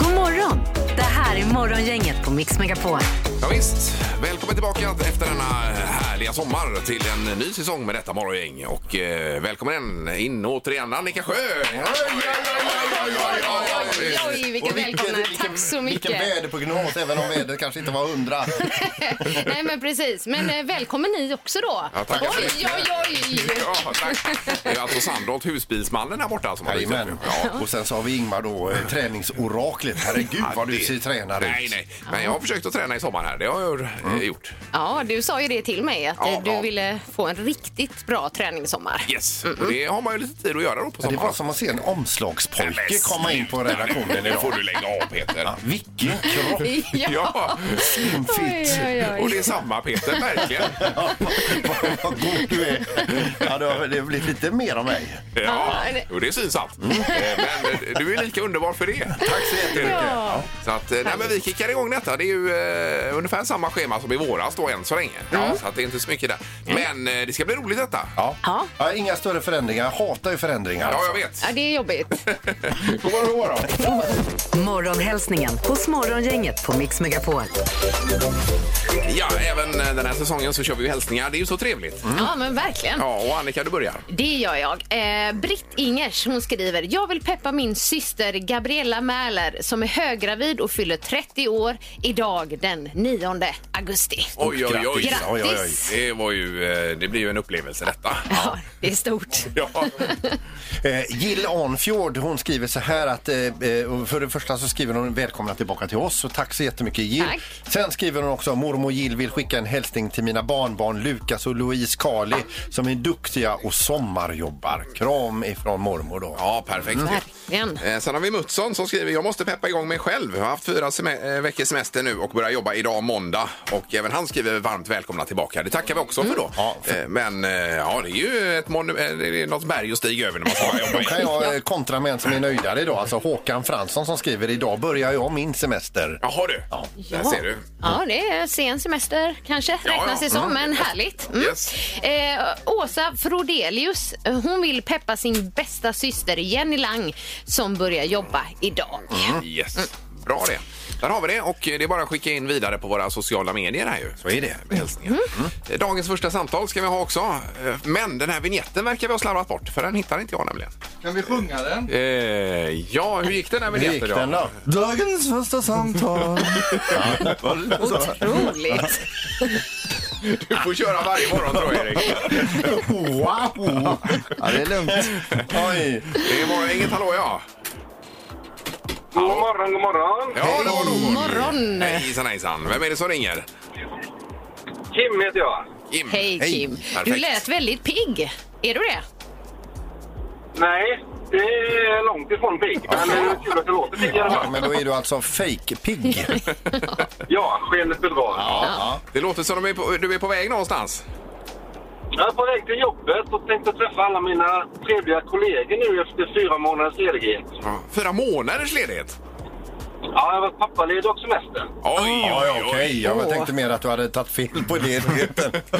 God morgon! Det här är Morgongänget på Mix Megapol. Ja, visst. Välkommen tillbaka efter denna härliga sommar till en ny säsong med detta morgongäng. Och eh, välkommen in återigen Annika Sjö! Oj, oj, vilken Och vilken- välkomna. vilken- Tack så mycket. Vilken väderprognos, även om vädret kanske inte var hundra. Nej, men precis. Men eh, välkommen ni också då. Ja, tack. oj, oj, oj. Ja, tack. Det är alltså Sandholt, husbilsmannen här borta som har dykt Jajamän. upp. Ja. Och sen så har vi Ingmar då, eh, träningsoraklet. Herregud vad du det- ser tränare ut. Mm. Nej, nej. Men jag har försökt att träna i sommar här. Det har jag eh, gjort. Ja, du sa ju det till mig att eh, Ja, du ja. ville få en riktigt bra träningssommar. Yes. Mm, Och det har man ju lite tid att göra då på Men Det sommaren. var som att se en Nej, omslagspojke men komma in på redaktionen Nu får idag. du lägga av Peter. Vilken kropp! Ja, Fit. Oj, oj, och oj. det är samma Peter, verkligen. Ja, vad- Vad god du är. Ja, det har- det blir lite mer av mig. Ja, Ja, Mm. det- och det syns allt. Eh, Men eh, du är lika underbar för det. Tack så jättemycket. Så att, eh, nej, men vi kickar igång detta. Det är ju eh, ungefär samma schema som i våras då än så länge. Så att det är inte så mycket där. Men eh, det ska bli roligt detta. Ja. Mm. Ja. Ja, inga större förändringar. Jag hatar ju förändringar. Ja, alltså. jag vet. Ja, det är jobbigt. God morgon, god morgon. Morgonhälsningen hos Morgongänget på Mix Megapol. Mm. Ja, även eh, den här säsongen så kör vi ju hälsningar. Det är ju så trevligt. Ja, men verkligen. Ja, och Annika, du börjar. Det gör jag. Eh, Britt Ingers hon skriver Jag vill peppa min syster Gabriella Mäler som är höggravid och fyller 30 år idag den 9 augusti. Oj, oj, oj. Grattis! Oj, oj, oj. Det, var ju, eh, det blir ju en upplevelse detta. Ja, det är stort. Ja, Eh, Jill Arnfjord hon skriver så här att eh, eh, och för det första så skriver hon välkomna tillbaka till oss och tack så jättemycket Jill. Tack. Sen skriver hon också mormor Jill vill skicka en hälsning till mina barnbarn Lukas och Louise Kali som är duktiga och sommarjobbar. Kram ifrån mormor då. ja perfekt. Verkligen. Eh, Sen har vi Mutsson som skriver jag måste peppa igång mig själv. Jag har haft fyra seme- eh, veckors semester nu och börjar jobba idag måndag. Och även han skriver varmt välkomna tillbaka. Det tackar vi också för då. Ja, för- Eh, Men eh, ja, det är ju ett monu- eh, det är något berg att stiga över när man ska börja jobba Då kan igen. jag eh, kontra med en som är nöjdare idag, alltså Håkan Fransson som skriver idag börjar jag min semester. Jaha du, där ser du. Ja, det är sen semester kanske Ja, räknas ja. det som, Mm. men härligt. Mm. Yes. Eh, Åsa Frodelius, eh, hon vill peppa sin bästa syster Jenny Lang som börjar jobba idag. Yes. Mm. Bra det. Där har vi det och det är bara att skicka in vidare på våra sociala medier här ju. Så är det. Med hälsningar. Eh, Dagens första samtal ska vi ha också. Eh, Men den här vignetten verkar vi ha slarvat bort för den hittar inte jag nämligen. Kan vi sjunga den? Eh, ja, hur gick den här Hur vignetten gick den då? Dagens första samtal. Otroligt! Du får köra varje morgon tror jag Erik. Wow! Ja, det är lugnt. Oj. Det är morgon, inget hallå ja. God morgon, god morgon. Ja, hallå, hallå. Morgon! Hejsan hejsan. Vem är det som ringer? Kim heter jag. Kim. Hej Hej. Kim! Du Perfekt. lät väldigt pigg. Är du det? Nej, det är långt ifrån pigg. Men det är kul att det låter pigg i alla Ja, fall. men då är du alltså fake-pigg. Ja, skenet bedrar. Ja. Det låter som du är på, du är på väg någonstans. Jag är på väg till jobbet och tänkte träffa alla mina trevliga kollegor nu efter fyra månaders ledighet. Fyra månaders ledighet. Ja, jag har varit pappaledig och semester. Oj, Ja, ja, okej. Ja, Jag tänkte mer att du hade tagit fel på ledigheten.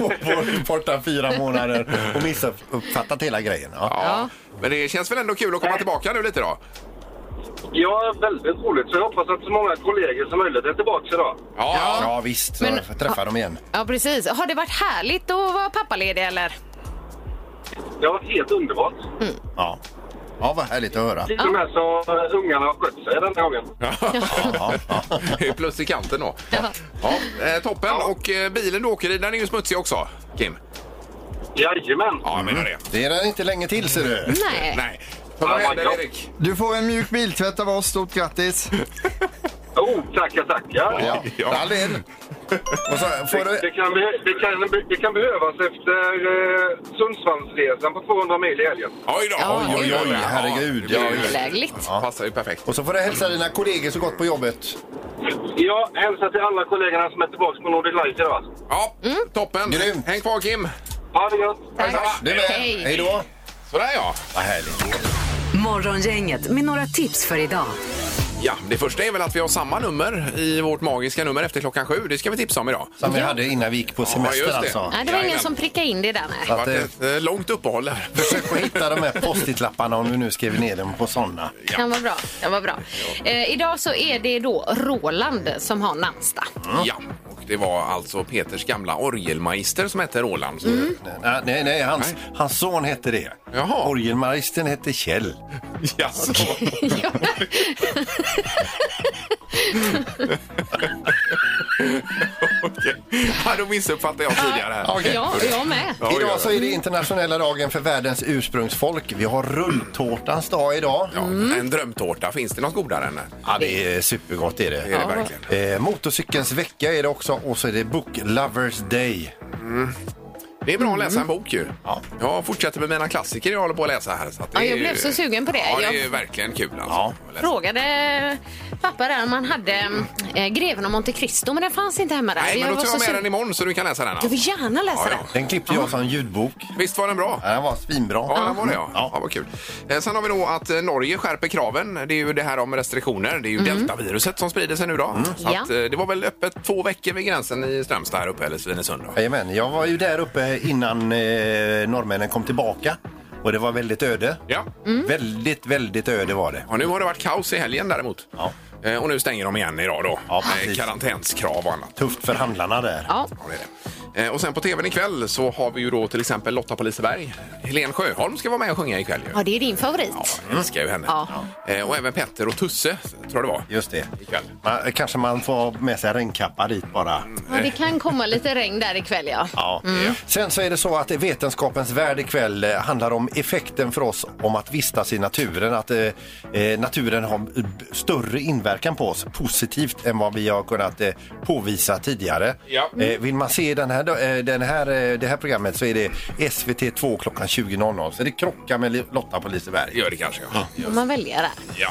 Och varit Borta fyra månader och missuppfattat hela grejen. Ja. Ja. Men det känns väl ändå kul att komma tillbaka nu lite då? Ja, väldigt roligt. Så jag hoppas att så många kollegor som möjligt är tillbaka idag. Ja. ja, visst. Så Men- får jag träffa dem igen. Ja, precis. Har det varit härligt att vara pappaledig eller? Det har varit helt underbart. Ja. ja, vad härligt att höra. Till och med så eh, ungarna har skött sig den här gången. Ja, ja. Det är Plus i kanten då. Ja. eh, toppen. Och eh, bilen du åker i, den är ju smutsig också, Kim. Jajamän. Ja, jag menar det. Det är där inte länge till, ser du. Nej. Mm. Nej. Vad händer, Erik? Du får en mjuk biltvätt av oss. Stort grattis. Oh, tackar, tackar. Ja. Ja. Dahlén. Och så, får Det, det, du, kan, be- det, kan, be- det kan behövas efter eh, Sundsvallsresan på 200 mil i helgen. Oj då! Ja, oj, oj, oj, herregud. Ja, det blir ju- Angelägligt. Ja, Passar ju perfekt. och så får du hälsa dina kollegor så gott på jobbet. Jag hälsar till alla kollegorna som är tillbaka på Nordic Life idag. Ja, toppen. Grymt. Häng kvar Kim. Ha det gött! Tack. Du med. Hej. Hej då. Sådär ja. Vad härligt. Morgongänget med några tips för idag. Ja, det första är väl att vi har samma nummer i vårt magiska nummer efter klockan sju. Det ska vi tipsa om idag. Som vi hade innan vi gick på semester just det. alltså. Nej, det var ingen som prickade in det där. Nej. Det har varit Att, ett eh, långt uppehåll här. Försök att hitta de här post-it-lapparna om du nu skriver ner dem på sådana. Den var bra. Den var bra. Eh, idag så är det då Roland som har namnsdag. Ja, och det var alltså Peters gamla orgelmeister som hette Roland. Mm. Nej, nej, nej, hans, hans son hette det. Jaha. Orgelmagistern hette Kjell. Ja, så. Ja. Okej. ja, då missuppfattade jag tidigare här. Okej. Ja, jag med. Ja, ja, ja. Idag så är det internationella dagen för världens ursprungsfolk. Vi har rulltårtans dag idag. Ja, Mm. En drömtårta, finns det något godare än det? Ja, det är supergott är Det är det det. verkligen. Eh, motorcykelns vecka är det också och så är det Book Lovers Day. Det är bra att läsa Mm. en bok ju. Ja. Jag fortsätter med mina klassiker jag håller på att läsa här. Så att det Ja, jag är ju- blev så sugen på det. Ja, det är Jag- ju verkligen kul alltså. Ja. Att läsa. frågade pappa där om han hade eh, Greven av Monte Cristo, men den fanns inte hemma där. Nej, men Jag då var tar så jag med sugen. den imorgon så du kan läsa den. Jag Alltså. vill gärna läsa Ja, ja. den. Den klippte jag som ljudbok. Visst var den bra? Ja, Den var svinbra. Ja, det var det ja. ja vad kul. Eh, Sen har vi då att eh, Norge skärper kraven. Det är ju det här om restriktioner. Det är ju deltaviruset som sprider sig nu då. Så att, Ja. eh, det var väl öppet två veckor vid gränsen i Strömstad här uppe, eller Svinesund. Då. Jajamän, jag var ju där uppe innan eh, norrmännen kom tillbaka och det var väldigt öde. Ja. Väldigt, väldigt öde var det. ja, nu har det varit kaos i helgen däremot. Ja. Eh, Och nu stänger de igen idag då. Ja, Med precis. karantänskrav och annat. Tufft för handlarna där. Ja. Ja, det är det. Eh, Och sen på tvn ikväll så har vi ju då till exempel Lotta på Liseberg. Helen Sjöholm ska vara med och sjunga ikväll ju. ja, det är din favorit. Ja, jag älskar ju henne. Ja. Eh, Och även Petter och Tusse, tror jag det var. Just det. Ikväll. Man, kanske man får ha med sig regnkappa dit bara. Mm. Ja, det kan komma lite regn där ikväll, ja. Ja. Sen så är det så att Vetenskapens värld ikväll eh, handlar om effekten för oss om att vistas i naturen. Att eh, eh, naturen har b- större inverkan på oss positivt än vad vi har kunnat eh, påvisa tidigare. Ja. Eh, vill man se den här, do- eh, den här, eh, det här programmet så är det SVT2 klockan 20.00. Så det krockar med Li- Lotta på Liseberg. Gör det kanske, ja. Får man välja där. ja.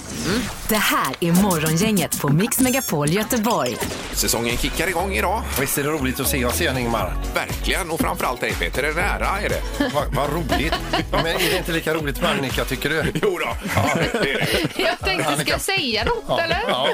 Det här är Morgongänget på Mix Megapol Göteborg. Säsongen kickar igång idag. Visst är det roligt att se oss igen Ingmar? Verkligen, och framförallt dig Peter, det är nära är det. Vad vad roligt! Men är det inte lika roligt med Annika tycker du? Jo då. Ja, det är det. Jag tänkte, ska jag säga något eller? Ja.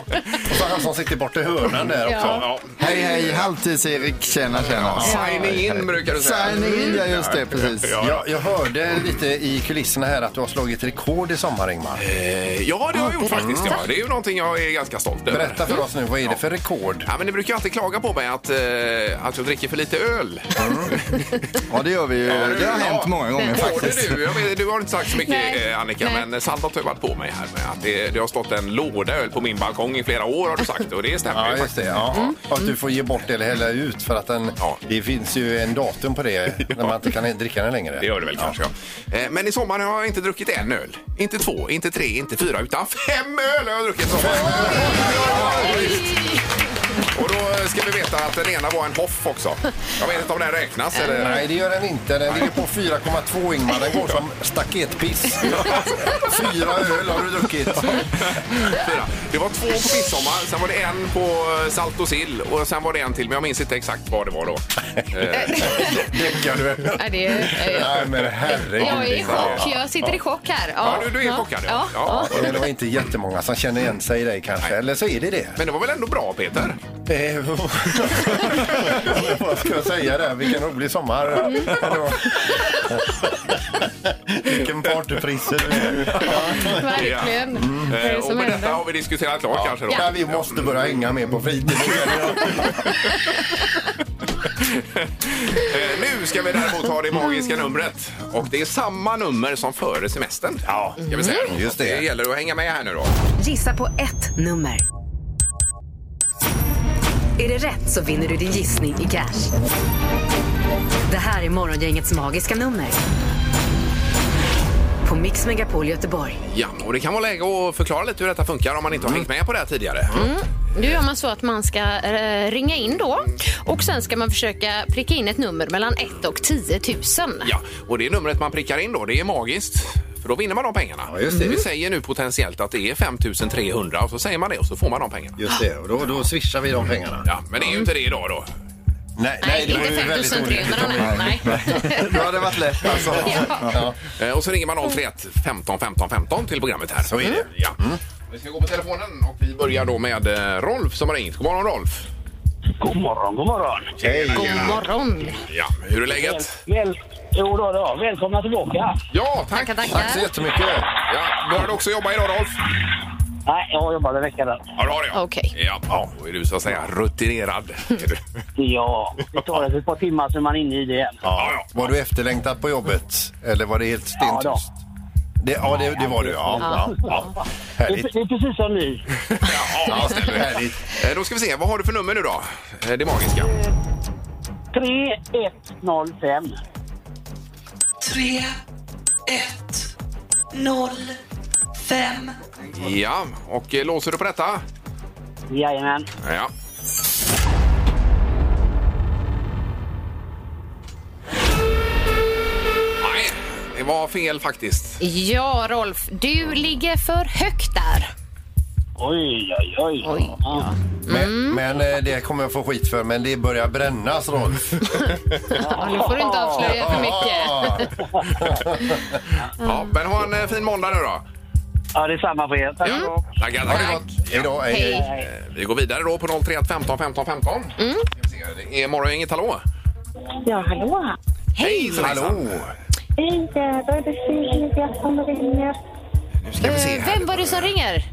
Och så han som sitter borta i hörnan där också. Ja. Hej, hej, halvtids-Erik. Tjena, tjena. Signing in brukar du säga. Signing in, ja just det, precis. Ja, Jag, jag hörde lite i kulisserna här att du har slagit rekord i sommar, Ingmar. Eh, ja det har jag gjort faktiskt. Ja. Det är ju någonting jag är ganska stolt över. Berätta för oss nu, vad är det för rekord? Ja, men ni brukar ju alltid klaga på mig att, eh, att jag dricker för lite öl. Ja, det gör vi ju. Ja, Det har hänt många gånger Både faktiskt. Du, jag vet, du har inte sagt så mycket Nej. eh, Annika, Nej. men Sandholt har ju varit på mig här med att det, det har stått en låda öl på min balkong i flera år har du sagt och det stämmer Ja, ju just faktiskt. det. Ja. Och att du får ge bort eller hälla ut för att den, Mm. Ja. det finns ju en datum på det när man inte kan dricka den längre. Det gör det väl kanske, ja. Eh, Men i sommar har jag inte druckit en öl. Inte två, inte tre, inte fyra, utan fem öl har jag druckit i sommar. Och då ska vi veta att den ena var en hoff också. Jag vet inte om den räknas eller... Nej, det gör den inte. Den ligger på 4,2 Ingmar. Den går som staketpiss. Fyra öl har du druckit. Fyra. Det var två på midsommar, sen var det en på eh, salt och sill och sen var det en till, men jag minns inte exakt vad det var då. Eh, Däckar du? Ja, det är, eh, Nej, men herregud. jag är i Ingmar. chock. Jag sitter i chock här. Ja, du, du är chockad ja. ja. Ja, Det var inte jättemånga som känner igen sig i dig kanske. Eller så är det det. Men det var väl ändå bra Peter? Eh, Vad ska jag säga där? Vilken rolig sommar. Mm. Det var- Vilken partyfrisse du är. Verkligen. Vad är Eh, det Och som med detta händer? har vi diskuterat klart kanske då. Ja, vi måste börja hänga med på fritiden. Eh, Nu ska vi däremot ha det magiska numret. Och det är samma nummer som före semestern. Ja, ska vi säga. då. Just det. det gäller att hänga med här nu då. Gissa på ett nummer. Är det rätt så vinner du din gissning i cash. Det här är Morgongängets magiska nummer. på Mix Megapol Göteborg. Ja, och det kan vara läge att förklara lite hur detta funkar om man inte har hängt med på det här tidigare. Nu gör man så att man ska eh, ringa in då och sen ska man försöka pricka in ett nummer mellan 1 och 10 000. Ja, och det numret man prickar in då, det är magiskt. För då vinner man de pengarna. just det. Vi säger nu potentiellt att det är 5 300 och så säger man det och så får man de pengarna. Just det, och då, då swishar vi de pengarna. Ja, men det är ju inte det idag då. Nej, Nej, det var ju inte väldigt 5 300. olyckligt. Nej. nej. Då hade det varit lätt alltså. Eh, Och så ringer man 031 15 15 15 till programmet här. Så är det. Ja. Mm. Vi ska gå på telefonen och vi börjar då med eh, Rolf som har ringt. God morgon Rolf! God morgon, god morgon. God morgon. Ja, hur är läget? Väl, jo då, då. Välkomna tillbaka. Ja, tack! Tackar, Tack så tackar. jättemycket. Ja, börjar du också jobba idag Rolf? Nej, jag jobbade en vecka där. Ja, det har jag. Okej. Ja, ja, då är du så att säga rutinerad. Är du? Ja, det tar ett par timmar så är man inne i det igen. Ja, ja. Var du efterlängtad på jobbet? Eller var det helt Ja, då. stentyst? Det, ja, det, det var du. Ja, ja, ja. Det Härligt. är, det är precis som ni. Ja, stämmer. Härligt. Eh, Då ska vi se, vad har du för nummer nu då? Eh, Det magiska. 3105. 3, 1, 0, 5. Ja, och eh, låser du på detta? Jajamän. Ja. Nej, det var fel faktiskt. Ja, Rolf, du ligger för högt där. Oj, oj, oj. Oj. Mm. Ja. Men, men eh, det kommer jag få skit för, men det börjar brännas, Rolf. Ja, nu får du inte avslöja för mycket. Ja. Ja, men ha en eh, fin måndag nu då. ja, det är samma på er. Tack. Ja, tackar, tackar. Hej då. Hej, hej. Hej. Eh, Vi går vidare då på 031 15 15 15. Ska vi se, Det är morgongänget, hallå? Ja, hallå. Hej! Hallå! Hej, då är det Silvia som ringer. Nu ska vi se Eh, här. Vem var det som ringer?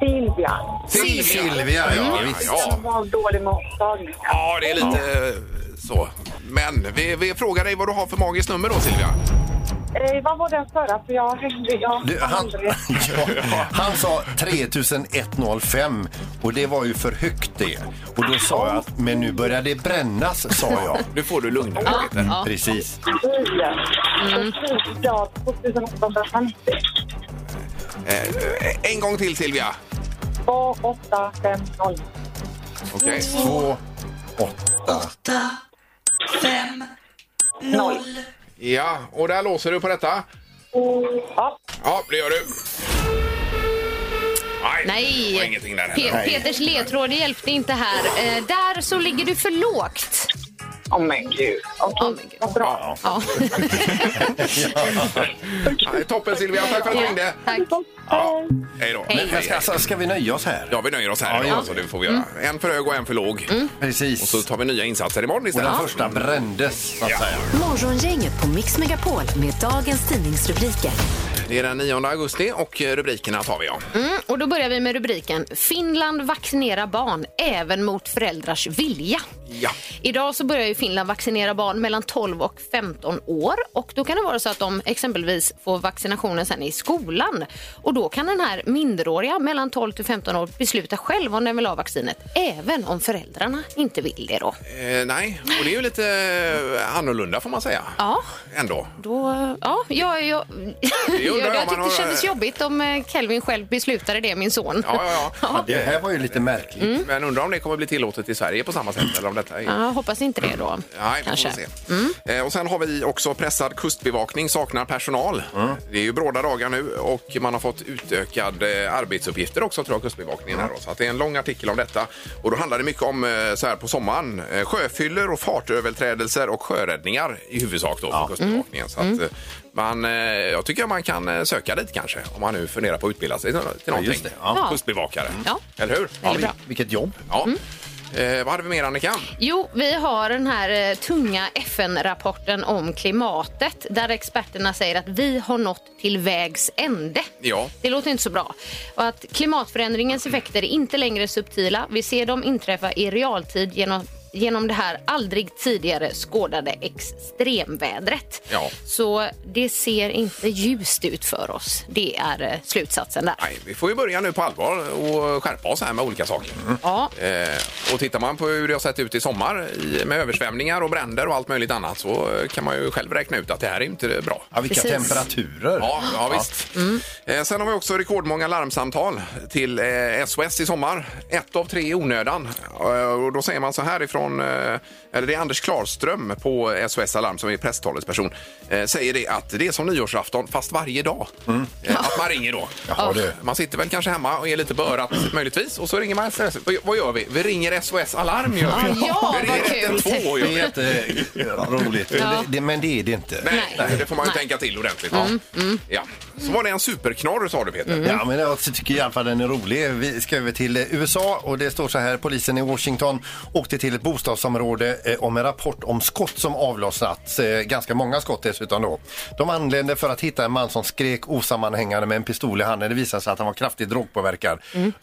Silvia. Silvia. Silvia, ja Ja, visst. ja. var dålig mottagning. Ja, det är lite eh, så. Men vi, vi frågar dig vad du har för magiskt nummer då Silvia. Eh, vad var den förra? För jag hängde... Jag Du, han, ja, han sa 3105 och det var ju för högt det. Och då sa jag att men nu börjar det brännas, sa jag. Nu får du lugna dig lite. Precis. Mm. Ja, 2850. Eh, eh, En gång till Silvia. 2850. Okej. Två, åtta. 8, 5, Noll. Ja, och där låser du på detta. Ja. Ja, det gör du. Nej, Nej, det var ingenting där Pe- heller. Peters ledtråd det hjälpte inte här. Eh, där så ligger du för lågt. Åh, men gud. Åh, men gud. Vad bra. Ja. Nej, toppen Silvia, tack för att du ringde. Tack. Ja, hej då. Hej. Men ska, ska- ska vi nöja oss här? Ja, vi nöjer oss här Ja, idag, ja. så det får vi göra. Mm. En för hög och en för låg. Och Precis. så tar vi nya insatser imorgon Och istället. den första brändes, så att säga. Morgongänget på Mix Megapol med dagens tidningsrubriker. Det är den 9 augusti och eh, rubrikerna tar vi. Ja. Mm, och då börjar vi med rubriken Finland vaccinerar barn även mot föräldrars vilja. ja. Idag så börjar ju Finland vaccinera barn mellan 12 och 15 år och då kan det vara så att de exempelvis får vaccinationen sen i skolan och då kan den här minderåriga mellan 12 till 15 år besluta själv om den vill ha vaccinet även om föräldrarna inte vill det då. Eh, nej, och det är ju lite eh, annorlunda får man säga. Ja, Ändå. då, ja, jag, jag, jag, jag om jag man tyckte har- det kändes jobbigt om eh, Kelvin själv beslutade det, min son. Ja, ja, ja. Det här var ju lite märkligt. Men undrar om det kommer bli tillåtet i Sverige på samma sätt eller om detta är... Ja, hoppas inte det då. Nej, vi får kanske. Mm. se. Eh, Och sen har vi också pressad kustbevakning saknar personal. Mm. Det är ju bråda dagar nu och man har fått utökade eh, arbetsuppgifter också tror jag kustbevakningen Mm. här då. Så att det är en lång artikel om detta. Och då handlar det mycket om eh, så här på sommaren, eh, sjöfyller och fartöverträdelser och sjöräddningar i huvudsak då Mm. på kustbevakningen. Så att Mm. eh, man, eh, jag tycker man kan eh, söka dit kanske om man nu funderar på att utbilda sig till till någonting. just det. Ja. Kustbevakare. Ja. Eller hur? Väldigt bra. Mm. Vilket jobb. Ja. Eh, vad hade vi mer Annika? Jo, vi har den här eh, tunga FN-rapporten om klimatet där experterna säger att vi har nått till vägs ände. Ja. Det låter inte så bra. Och att klimatförändringens effekter är inte längre subtila. Vi ser dem inträffa i realtid genom genom det här aldrig tidigare skådade extremvädret. Ja. Så det ser inte ljust ut för oss. Det är eh, slutsatsen där. Nej, vi får ju börja nu på allvar och skärpa oss här med olika saker. Ja, Eh, och tittar man på hur det har sett ut i sommar i- med översvämningar och bränder och allt möjligt annat så eh, kan man ju själv räkna ut att det här är ju inte bra. Ja, vilka Precis. temperaturer. Ja, ja visst. Eh, sen har vi också rekordmånga larmsamtal till eh, SOS i sommar. Ett av tre i onödan. Eh, och då säger man så här ifrån, eh, eller det är Anders Klarström på SOS Alarm som är presstalesperson, eh, säger det att det är som nyårsafton fast varje dag. Eh, att man ringer då. Jaha, du. Man sitter väl kanske hemma och är lite börat möjligtvis och så ringer man SOS. Vad- Vad gör vi? Vi ringer SOS Alarm. Gör vi. Ja, vi vad ringer kul. 112 gör Det vi. är jätteroligt, Ja. men, det- men det är det inte. Nej, Nej. det får man ju Nej. Mm, tänka till ordentligt. Ja. Ja. Så var det en superknorr sa du Peter. Ja, men jag tycker i alla fall den är rolig. Vi ska över till eh, USA och det står så här. Polisen i Washington åkte till ett bostadsområde eh, om en rapport om skott som avlossats. Eh, ganska många skott dessutom då. De anlände för att hitta en man som skrek osammanhängande med en pistol i handen. Det visade sig att han var kraftigt drogpåverkad.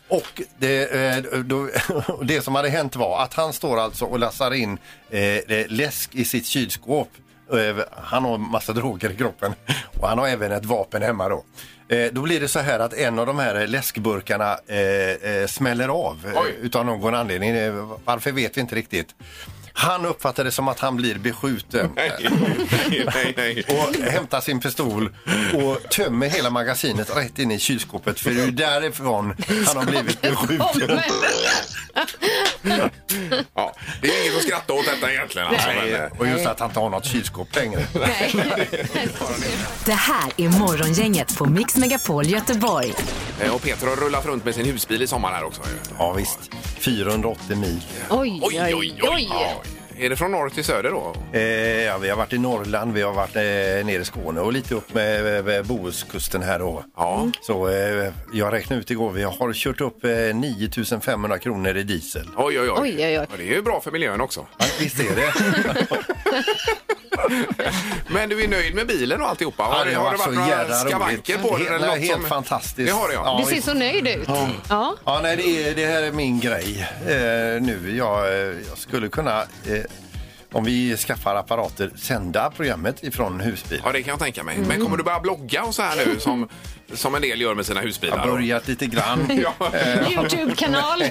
Och det, eh, då, det som hade hänt var att han står alltså och lassar in eh, läsk i sitt kylskåp. Eh, Han har massa droger i kroppen och han har även ett vapen hemma då. Eh, Då blir det så här att en av de här eh, läskburkarna eh, eh, smäller av eh, Oj. utan någon anledning. Eh, Varför vet vi inte riktigt. Han uppfattar det som att han blir beskjuten nej, nej, nej. och hämtar sin pistol och tömmer hela magasinet rätt in i kylskåpet för det är ju därifrån han har blivit beskjuten. Ja, det är inget att skratta åt detta egentligen. Alltså, men, eh, Och just att han inte har något kylskåp längre. Det här är Morgongänget på Mix Megapol Göteborg. eh, och Peter har rullat runt med sin husbil i sommar här också. ju. Ja visst, 480 mil. Oj, oj, oj. Ja. Är det från norr till söder då? Eh, ja, vi har varit i Norrland, vi har varit eh, nere i Skåne och lite upp med eh, med Bohuskusten här då. Mm. Ja. Så eh, jag räknade ut igår, vi har kört upp eh, 9500 kronor i diesel. Oj, oj, oj. Oj, oj, oj. Ja, Det är ju bra för miljön också. Ja, visst är det? Men du är nöjd med bilen och alltihopa? Ja, det har varit så jädra skavanker roligt. på den? Helt- eller nej, något helt fantastiskt. Det har det, ja. Du ser så nöjd ut. Ja. Ja, nej, det, är, det här är min grej eh, nu. Jag, eh, jag skulle kunna, eh, om vi skaffar apparater, sända programmet ifrån husbil. Ja, det kan jag tänka mig. Men kommer du börja blogga och så här nu som, som en del gör med sina husbilar? Jag har då? börjat lite grann. Ja. Youtube-kanal.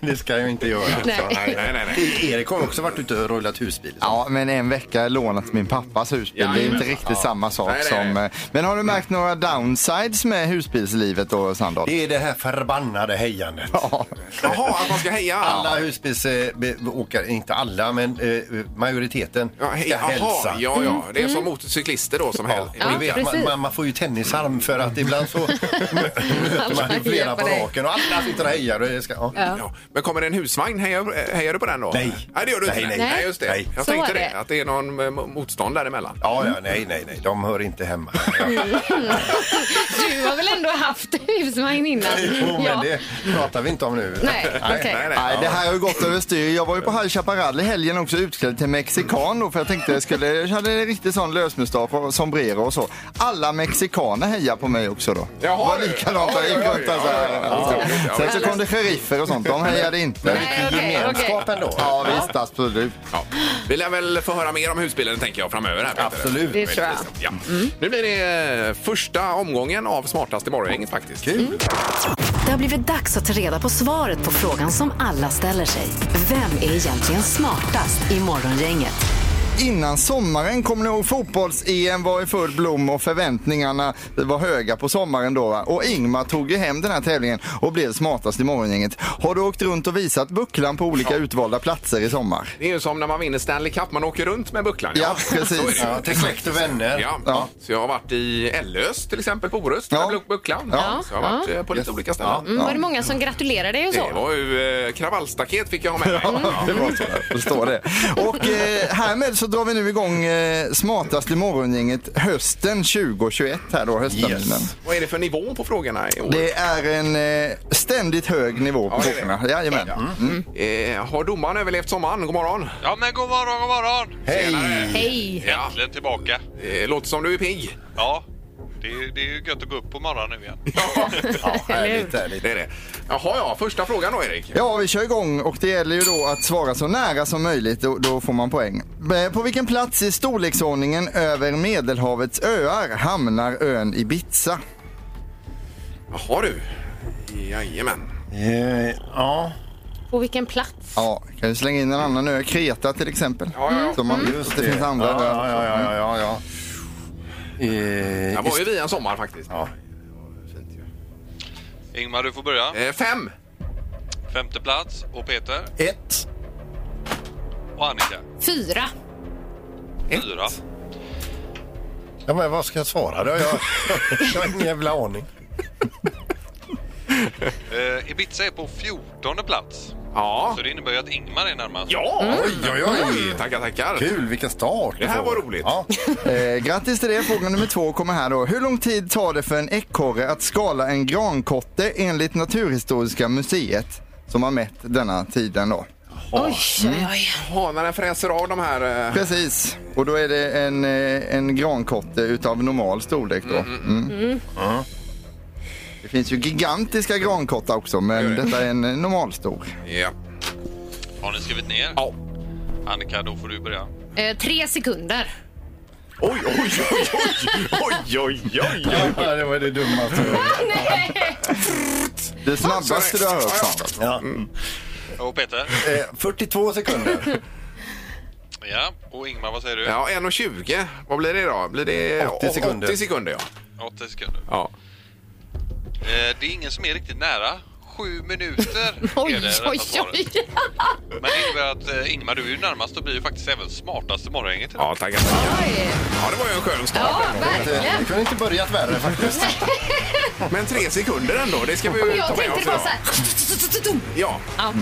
det ska jag inte göra. Nej. Nej, nej, nej. Erik har också varit ute och rullat husbil. Ja, men en vecka lånat min pappas husbil. det är Jajamän. inte riktigt samma sak Nej, nej, som... nej. eh, Men har du märkt några downsides med husbilslivet då, Sandahl? Det är det här förbannade hejandet. Ja. Jaha, att man ska heja? Alla husbilsåkare, inte alla, men eh, majoriteten Ja, hej, ska hälsa. Mm. aha, ja, ja. Det är som motorcyklister då som Ja, hel- och du vet, man, precis. man, man får ju tennisarm för att ibland så möter man ju flera hejar på på dig. raken och alla sitter och hejar. Och det ska, ja. Ja. Men kommer det en husvagn? Hejar, hejar du på den då? Nej. Nej, det gör du Nej, inte. nej. nej just det. Nej. Jag Så tänkte är det. det. Att det är någon eh, mo- motstånd däremellan. Ja, ja, nej, nej, nej, de hör inte hemma. Ja. Du har väl ändå haft husvagn innan? Jo, men det pratar vi inte om nu. Nej, okej. nej, nej. Nej, det här har ju gått överstyr. Jag var ju på High Chaparral i helgen också utklädd till mexikan då, för jag tänkte jag skulle, jag hade riktigt sån lösmustasch och sombrero och så. Alla mexikaner hejar på mig också då. Jaha, det var du. likadant, jag gick Oj, oj, oj. runt där så här. Ja, ja, ja. Ja, Sen så kom det sheriffer och sånt, de hejade inte. Nej, okej, Gemenskap okej. ändå. Ja visst, absolut. Ja. Vi lär väl få höra mer om husbilen tänker jag framöver. Här, Peter. Absolut. Det tror jag. Ja. Mm. Nu blir det eh, första omgången av Smartast i morgongänget faktiskt. Mm. Det har blivit dags att ta reda på svaret på frågan som alla ställer sig. Vem är egentligen smartast i Morgongänget? Innan sommaren kom ni ihåg fotbolls-EM var i full blom och förväntningarna var höga på sommaren då. Va? Och Ingmar tog ju hem den här tävlingen och blev smartast i morgongänget. Har du åkt runt och visat bucklan på olika utvalda platser i sommar? Det är ju som när man vinner Stanley Cup, man åker runt med bucklan. Ja, Så är det precis. ju. Ja, till släkt och vänner. Ja. Ja. Så jag har varit i Ellös till exempel på Orust med Ja. ja. bucklan. Ja. Så jag har varit eh, på lite olika ställen. Mm, var det många som gratulerade dig och Det så? var ju eh, kravallstaket fick jag ha med mig. Mm. Det var så, jag förstår det. Och eh, härmed så drar vi nu igång eh, smartast i morgongänget hösten 2021 här då, höstterminen. Yes. Vad är det för nivå på frågorna i år? Det är en eh, ständigt hög nivå på Ja, det är det. frågorna. Jajamän. Mm. Eh, har domaren överlevt sommaren? God morgon! Ja, men god morgon, god morgon! Hej! Hej! Ja, Äntligen tillbaka. eh, låter som du är pigg. Ja, Det är, det är ju gött att gå upp på morgonen nu igen. Ja, härligt, härligt. Det är det. Jaha, ja. Första frågan då, Erik. Ja, vi kör igång och det gäller ju då att svara så nära som möjligt. Då, då får man poäng. Eh, På vilken plats i storleksordningen över Medelhavets öar hamnar ön Ibiza? Jaha, du. Jajamän. Eh, Ja, På vilken plats? Ja, kan du slänga in en annan ö? Kreta till exempel. Ja, ja, Mm. ja. Som man vet just att det finns andra ja, öar. ja, ja, ja, ja, ja. Det Eh, var ju vi en sommar faktiskt. Ja. Fint ju. Ingmar, du får börja. Eh, Fem. Femte plats. Och Peter Ett. och Annika. Fyra. Fyra. Ja, men vad ska jag svara då? Jag, jag har ingen jävla aning. Eh, Ibiza är på fjortonde plats. Ja. Så det innebär ju att Ingmar är närmast. Ja! Oj, oj, oj. Tackar, tackar. Mm. Kul, vilken start. Det här var roligt. Ja. Eh, grattis till det. Fråga nummer två kommer här då. Hur lång tid tar det för en ekorre att skala en grankotte enligt Naturhistoriska museet som har mätt denna tiden då? Oj, oj, oj. Ja, när den fräser av de här... eh, Precis, och då är det en, eh, en grankotte utav normal storlek då. Mm. Det finns ju gigantiska grankottar också, men detta är en eh, normalstor. Ja. Har ni skrivit ner? Ja. Annika, då får du börja. Eh, tre sekunder. Oj, oj, oj, oj, oj, oj, oj, oj. Ja, det var det dummaste. Ah, Det snabbaste du har hört. Sandra. Ja. Mm. Och Peter? Eh, 42 sekunder. Ja. Och Ingmar, vad säger du? Ja, 1.20. Vad blir det då? Blir det 80 sekunder. 80 sekunder, ja. 80 sekunder. ja. Eh, det är ingen som är riktigt nära. Sju minuter Oj, är det rätta oj, svaret. oj. Men det innebär att eh, Ingmar, du är ju närmast och blir ju faktiskt även smartast i morgongänget. idag. Ja, tackar, tackar. oj. Ja, det var ju en skön start. Ja, Eh, verkligen. Det kunde inte börjat värre faktiskt. Men tre sekunder ändå, det ska vi ju ta Jag med tänkte oss det var idag. så här... Ja,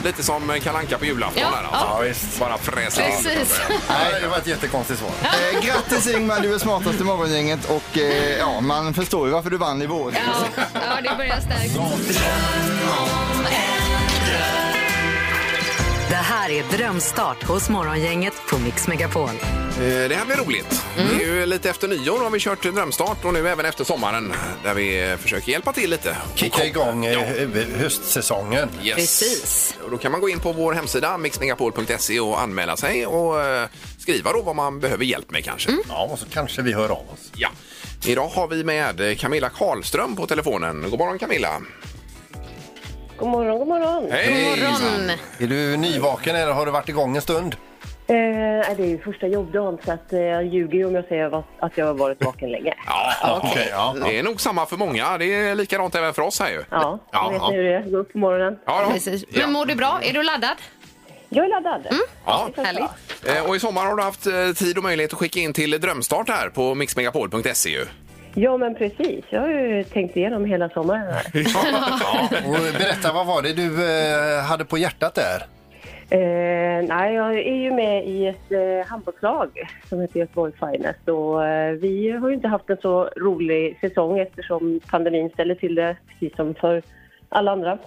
lite som Kalle Anka på julafton Ja, där ja. alltså. Bara fräser in. Precis. Nej, det var ett jättekonstigt svar. Eh, grattis Ingmar, du är smartast i morgongänget och eh, ja, man förstår ju varför du vann i vår. Ja, ja, det börjar starkt. Det här är Drömstart hos Morgongänget på Mix Megapol. Eh, Det här blir roligt. Mm. Det är ju lite efter nyår har vi kört drömstart och nu även efter sommaren där vi eh, försöker hjälpa till lite. Kicka igång eh, hö- höstsäsongen. Yes. Precis. Och då kan man gå in på vår hemsida mixmegapol.se och anmäla sig och eh, skriva då vad man behöver hjälp med kanske. Ja, och så kanske vi hör av oss. Ja. Idag har vi med Camilla Karlström på telefonen. God morgon Camilla! God morgon, god morgon. Hej! Morgon. Är du nyvaken eller har du varit igång en stund? Eh, det är ju första jobbdagen så att, eh, jag ljuger ju om jag säger vad- att jag har varit vaken länge. Ja, Okej, ja. Det är nog samma för många. Det är likadant även för oss här ju. Ja, jag Ja, vet ja. ni hur det är. Gå upp på morgonen. Ja, då. Precis. Ja. Men mår du bra? Är du laddad? Mm. Jag är laddad. Ja. Härligt. Eh, Och i sommar har du haft eh, tid och möjlighet att skicka in till Drömstart här på mixmegapol.se ju. Ja, men precis. Jag har ju tänkt igenom hela sommaren här. Ja. Och berätta, vad var det du eh, hade på hjärtat där? Eh, nej, jag är ju med i ett eh, handbollslag som heter Göteborg Finest och eh, vi har ju inte haft en så rolig säsong eftersom pandemin ställer till det precis som för alla andra.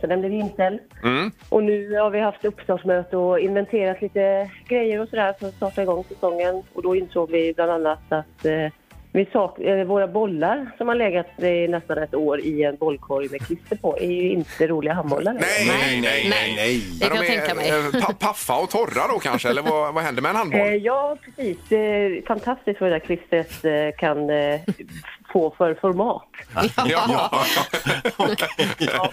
Så den blev inställd. Mm. Och nu har vi haft uppstartsmöte och inventerat lite grejer och sådär för att starta igång säsongen och då insåg vi bland annat att eh, vi sak- eh, våra bollar som har legat i nästan ett år i en bollkorg med klister på är ju inte roliga handbollar. nej, nej, nej, nej. Det kan jag Men de är, tänka mig. eh, pa- Paffa och torra då kanske, eller vad, vad händer med en Eh, handboll? ja, precis. Det är Eh, fantastiskt vad det där klistret eh, kan eh, få för format. Ja. ja.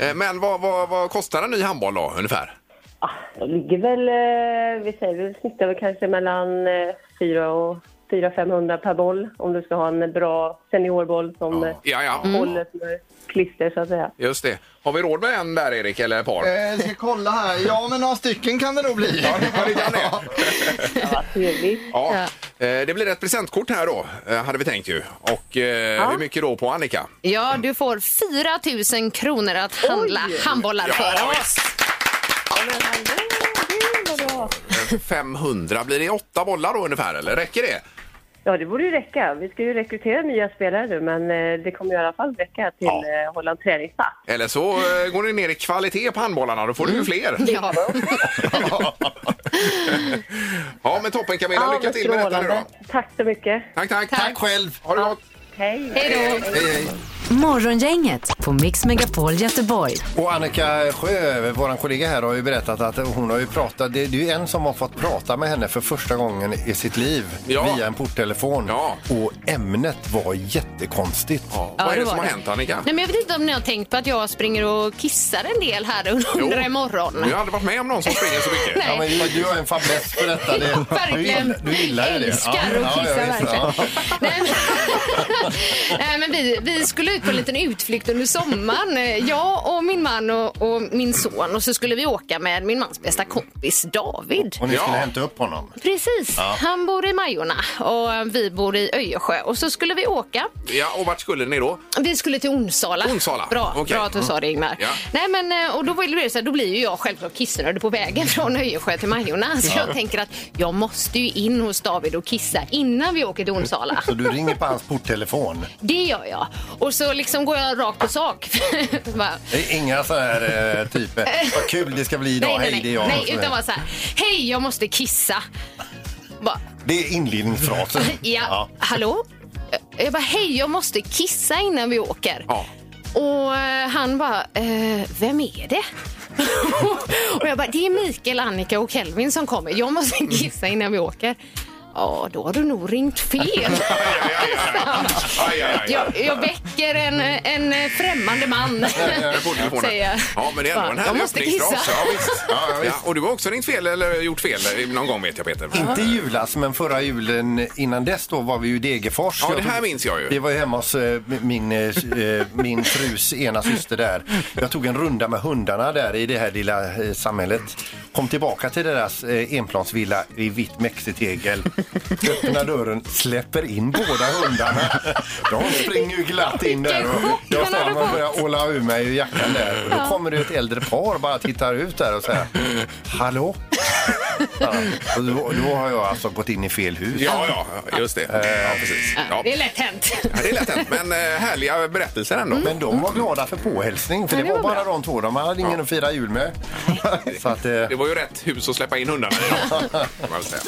Eh, Men vad, vad, vad kostar en ny handboll då, ungefär? Ah, de ligger väl, eh, vi säger väl snittar väl kanske mellan eh, 4 och 400-500 per boll om du ska ha en bra seniorboll som eh, Ja, ja. håller för klister så att säga. Just det. Har vi råd med en där, Erik, eller ett par? Eh, ska kolla här. Ja, men några stycken kan det nog bli. Ja, det kan det. Ja, vad trevligt. Ja. Eh, Det blir ett presentkort här då, eh, hade vi tänkt ju. Och eh, hur mycket då på Annika? Ja, du får 4 000 kronor att handla handbollar för. Eh, 500, blir det åtta bollar då ungefär, eller räcker det? Ja, det borde ju räcka. Vi ska ju rekrytera nya spelare nu, men eh, det kommer ju i alla fall räcka till ja. Holland träningspass. Eller så eh, går det ner i kvalitet på handbollarna, då får du Mm. ju fler. Ja. Ja, men toppen Camilla, lycka till med detta nu då. Tack så mycket. Tack, tack. Tack. själv. Ha det gott. Hej. Hej då. Hej, hej. Morgongänget på Mix Megapol Göteborg. Och Annika Sjö, vår kollega här, har ju berättat att hon har ju pratat, det det är ju en som har fått prata med henne för första gången i sitt liv Ja. via en porttelefon. Ja. Och ämnet var jättekonstigt. Vad är det var som har hänt Annika? Nej, men jag vet inte om ni har tänkt på att jag springer och kissar en del här under Jo. imorgon. Jag har aldrig varit med om någon som springer så mycket. Nej. Ja, men du- du har en fäbless för detta. Det, du, Verkligen. gillar- du gillar ju det. Älskar Ja, att ja, kissa ja, visst, verkligen. ja. Nej, men, Nej, men vi, vi skulle ut på en liten utflykt under sommaren. Jag och min man och, och min son. Och så skulle vi åka med min mans bästa kompis David. Och ni skulle Ja. hämta upp honom. Precis. Han bor i Majorna och vi bor i Öjersjö. Och så skulle vi åka. Ja, och vart skulle ni då? Vi skulle till Onsala. Onsala, Bra, okej. bra att du sa det Ingmar. Ja. Nej, men, eh, och då, var det så här, då blir ju jag självklart kissnödig på vägen från Öjersjö till Majorna. Så jag tänker att jag måste ju in hos David och kissa innan vi åker till Onsala. Så du ringer på hans porttelefon. Det gör jag. Och så liksom går jag rakt på sak. Bara, Det är inga så här eh, typer. Vad kul det ska bli idag. nej, Hej, nej, det är nej. jag. nej utan bara så här. Hej, jag måste kissa. Bara, Det är inledningsfrasen. ja, hallå? Jag bara, hej, jag måste kissa innan vi åker. Ja. Och eh, han bara, eh, vem är det? och jag bara, det är Mikael, Annika och Kelvin som kommer. Jag måste kissa innan vi åker. Ja, då har du nog ringt fel. Aj, aj, aj, aj. Aj, aj, aj. jag, jag väcker en, en främmande man. Jag får telefonen. säger jag. Ja, men det är ändå en Fan, härlig jag måste öppningsfras. kissa. Ja, visst. Ja, ja, visst. Ja, och du har också ringt fel eller gjort fel eh, någon gång vet jag Peter. Inte i julas, men förra julen innan dess då var vi ju i Degerfors. Ja, det här minns jag ju. Vi var ju hemma hos eh, min, eh, min frus ena syster där. Jag tog en runda med hundarna där i det här lilla eh, samhället. Kom tillbaka till deras eh, enplansvilla i vitt mexitegel. Öppnar dörren, släpper in båda hundarna. De springer ju glatt in där. Vilken Och chock jag han står hade och fått. börjar åla ur mig ur jackan där. Och då kommer det ett äldre par bara tittar ut där och säger Hallå? Ja, och då, då har jag alltså gått in i fel hus. Ja, ja, just det. Ja, precis. Ja. Det är lätt hänt. Ja, Det är lätt hänt, men eh, härliga berättelser ändå. Men de var glada för påhälsning, för det, det var var bara de två. De hade ingen att fira jul med. Så att, eh, Mm. Det var ju rätt hus att släppa in hundarna i. då, kan man väl säga.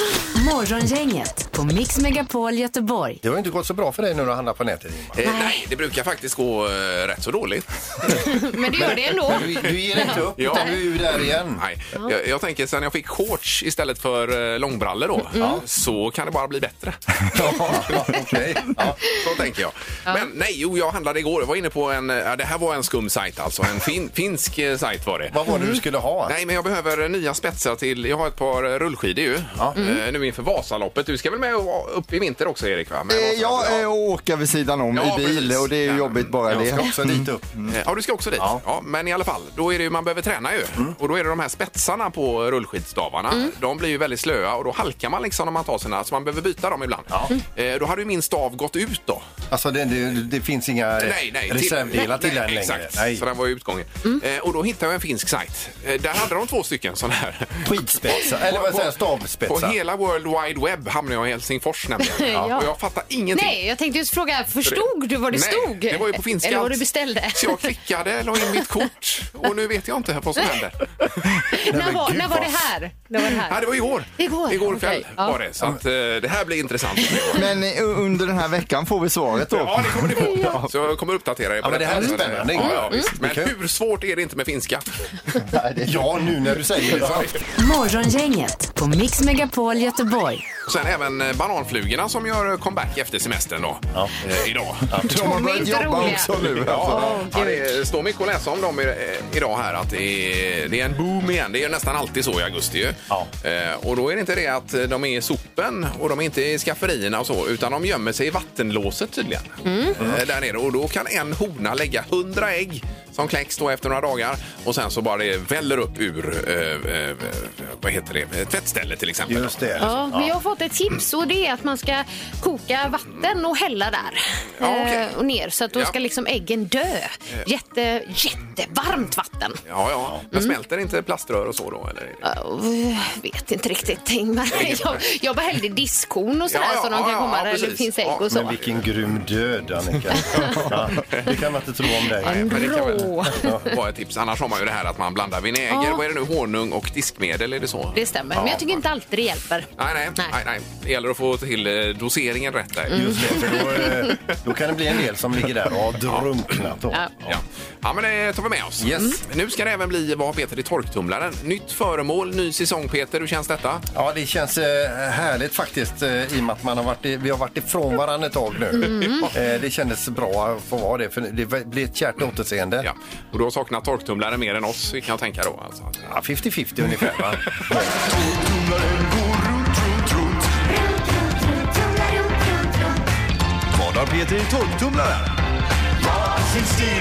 Morgongänget på Mix Megapol Göteborg. det har ju inte gått så bra för dig nu när du handlar på nätet. Ingmar. Eh, Nej, det brukar faktiskt gå eh, rätt så dåligt. Men du gör det ändå. Du, du ger inte upp, Ja. utan du är ju där igen. Nej. Jag, jag tänker sen jag fick shorts istället för eh, långbrallor då, så kan det bara bli bättre. Ja, okej. Ja. Så tänker jag. Men nej, jo, jag handlade igår. Jag var inne på en, eh, ja, det här var en skum sajt alltså. En fin, finsk eh, sajt var det. Vad var det du skulle ha? Nej, men jag behöver eh, nya spetsar till, jag har ett par eh, rullskidor ju. Eh, nu inför Vasaloppet. Du ska väl med och- upp i vinter också Erik? Va? Med Eh, ja, Vasaloppet, eh, och åka vid sidan om Ja, i bil precis. och det är ju Ja. jobbigt bara Jag det. ska också dit upp. Eh, Ja, du ska också dit. Ja. men i alla fall, då är det ju, man behöver träna ju. Mm. Och då är det de här spetsarna på rullskidstavarna. De blir ju väldigt slöa och då halkar man liksom när man tar sina, så man behöver byta dem ibland. Eh, då hade ju min stav gått ut då. Alltså, det, det, det finns inga Nej, nej. reservdelar till nej, den längre. Exakt, Nej. så den var ju utgången. Mm. Eh, och då hittade jag en finsk sajt. Eh, där hade de två stycken sådana här. Skidspetsar, eller vad säger jag, På stavspetsar. hela World Wide Web hamnade jag i Helsingfors nämligen. Ja. Och jag fattar ingenting. Nej, jag tänkte just fråga, förstod du vad det Nej, stod? det var ju på finska. Eller vad allt. du beställde? Så jag klickade, la in mitt kort och nu vet jag inte vad som händer. när, men var, gud, när var vad- det här? När var det här? Ja, det var igår. Igår, kväll okej. Ja. var det. Så att, eh, det här blir intressant. Men eh, under den här veckan får vi svaret då. Ja, det kommer ni få. Så jag kommer uppdatera er på Ja, men det här är spännande. Ja, ja, visst. Men Mm. hur svårt är det inte med finska? Ja, nu när du säger det. så. Morgongänget på Mix Megapol Göteborg. Och sen även eh, bananflugorna som gör comeback efter semestern då. Eh, idag. De har börjat inte jobba roliga. också nu. Alltså. Ja, ja, det står mycket att läsa om dem i- eh, idag här att det är, det är en boom igen. Det är ju nästan alltid så i augusti ju. Ja. Eh, och då är det inte det att eh, de är i sopen och de är inte i skafferierna och så utan de Mm. gömmer sig i vattenlåset tydligen. Eh, där nere och då kan en hona lägga 100 ägg som kläcks då efter några dagar och sen så bara det väller upp ur, eh, eh, vad heter det, tvättställe till exempel. Just det. Ja, men jag har fått ett tips och det är att man ska koka vatten och hälla där. Ja, okej. Eh, och ner så att då Ja. Eh. ska liksom äggen dö. Jätte, jättevarmt vatten. Ja, ja. Mm. Men smälter inte plaströr och så då? Eller? Jag Eh, vet inte riktigt Ingmar. Jag, jag bara hällde i diskhon och sådär Ja, ja, så de ja, kan ja, komma ja, där det precis. finns ägg och så. Men vilken grym död, Annika. ja, det kan man inte tro om dig. Nej, men det kan väl Rå. vara ett tips. Annars har man ju det här att man blandar vinäger, Ja. vad är det nu, honung och diskmedel, är det så? Det stämmer, Ja. men jag tycker inte alltid det hjälper. Nej, nej, nej. nej, Det gäller att få till eh, doseringen rätt där. Just det, för då, eh, då kan det bli en del som ligger där och har drunknat. Då. Ja. Ja. ja, men det tar vi med oss. Nu ska det även bli Vad har Peter i torktumlaren? Nytt föremål, ny säsong Peter. Hur känns detta? Ja, det känns eh, härligt faktiskt eh, i och med att man har varit, i- vi har varit ifrån varandra ett tag nu. Mm. Eh, det kändes bra att få vara det, för det blir ett kärt återseende. Ja. Och du har saknat torktumlaren mer än oss kan jag tänka då. Alltså. Ja, 50-50 ungefär va? Vad har Peter i torktumlaren?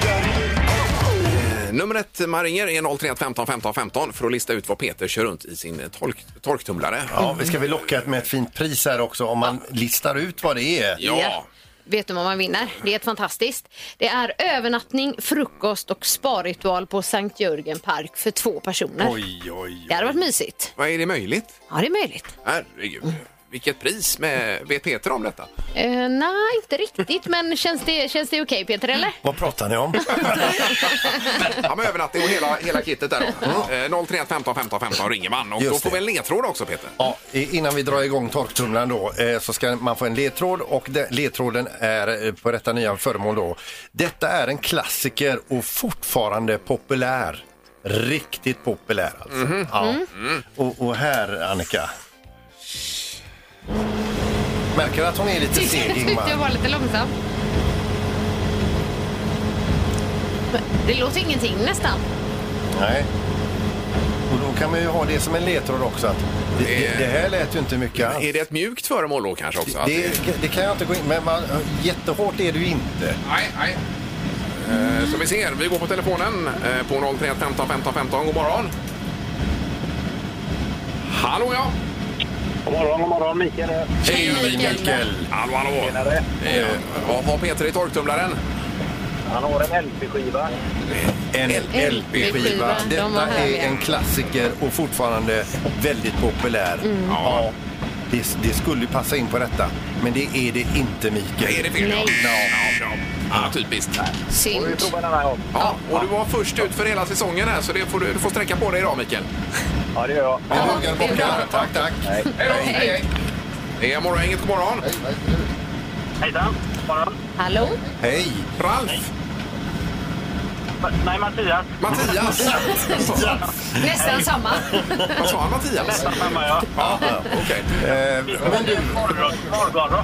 Eh, Numret man ringer är 031 15 15 15 för att lista ut vad Peter kör runt i sin eh, tork torktumlare. Ja, vi ska väl locka med ett fint pris här också om man listar ut vad det är. Ja. Vet du vad man vinner? Det är ett fantastiskt. Det är övernattning, frukost och sparritual på Sankt Jörgen park för två personer. Oj, oj. Det hade varit mysigt. Vad är det möjligt? Ja, det är möjligt. Herregud. Vilket pris med, vet Peter om detta? Eh, nej, inte riktigt, men känns det, känns det okej Peter, eller? Vad pratar ni om? ja, men övernattning och hela, hela kittet där då. Eh, 031 15 15 15 ringer man och Just då får det. vi en ledtråd också Peter. Ja, i- innan vi drar igång torktumlaren då eh, så ska man få en ledtråd och de, ledtråden är eh, på detta nya föremål då. Detta är en klassiker och fortfarande populär. Riktigt populär alltså. Ja. Och, och här Annika. Märker du att hon är lite seg Tyckte jag Ingmar? var lite långsam. Men Det låter ingenting nästan. Nej. Och då kan man ju ha det som en ledtråd också. Att det, det, det här lät ju inte mycket alls. Är det ett mjukt föremål då kanske också? Att Det, det kan jag inte gå in men man, jättehårt är det ju inte. Nej, nej. Eh, Så vi ser, vi går på telefonen eh, på 031 15 15 15. God morgon! Hallå ja! God morgon, god morgon. Mikael här. Hej Mikael! Hallå hallå! Tjenare. Eh, Vad har Peter i torktumlaren? Han har en LP-skiva. En LP-skiva. LP-skiva. De var Detta härliga. är en klassiker och fortfarande väldigt populär. Mm. Ja. Det, det skulle ju passa in på detta, men det är det inte Mikael. Är det fel? Nej. Ja, ja, typiskt. Synd. Får vi prova den här gången? Ja, och du var först ut för hela säsongen här så det får du, du får sträcka på dig idag Mikael. Ja, det gör jag. Jag hugger bockar. Tack, tack. Hej då! Hej, hej! Det är morgongänget, god morgon! Hejsan. Morgon. Hallå? Hej! Ralf! Nej, Mattias. Mattias! Nästan samma. Vad sa han Mattias? Nästan samma, ja. Ja, okej. Eh, Men du, Morgonrock.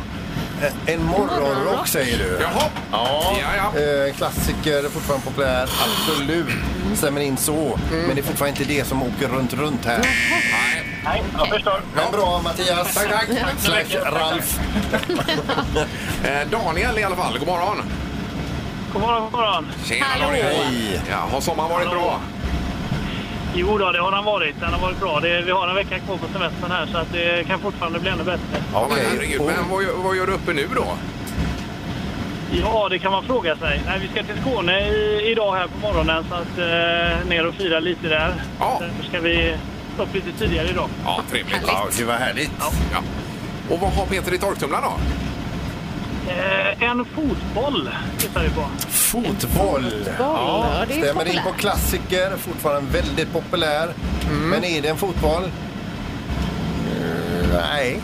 en morgonrock säger du? Jaha. Ja. Eh, klassiker, fortfarande populär, absolut. Stämmer in så. Men det är fortfarande inte det som åker runt, runt här. Nej, jag förstår. Men bra Mattias. Tack, tack. Slash Ralf. Eh, Daniel i alla fall, god morgon! God morgon, god morgon. Tjena Daniel! Ja, har sommaren varit bra? Jo då, det har den varit. Den har varit bra. Det, vi har en vecka kvar på semestern här så att det kan fortfarande bli ännu bättre. Ja, men herregud. Men vad, gör- vad gör du uppe nu då? Ja, det kan man fråga sig. Nej, vi ska till Skåne i, idag här på morgonen så att eh, ner och fira lite där. Ja. Sen ska vi upp lite tidigare idag. Ja, trevligt. Ja, det var härligt. Ja. Och vad har Peter i torktumlaren då? Eh, en fotboll tittar vi på. Fotboll. ja, det är Stämmer in populärt. Mm. på klassiker, fortfarande väldigt populär. Men är det en fotboll? Eh, nej.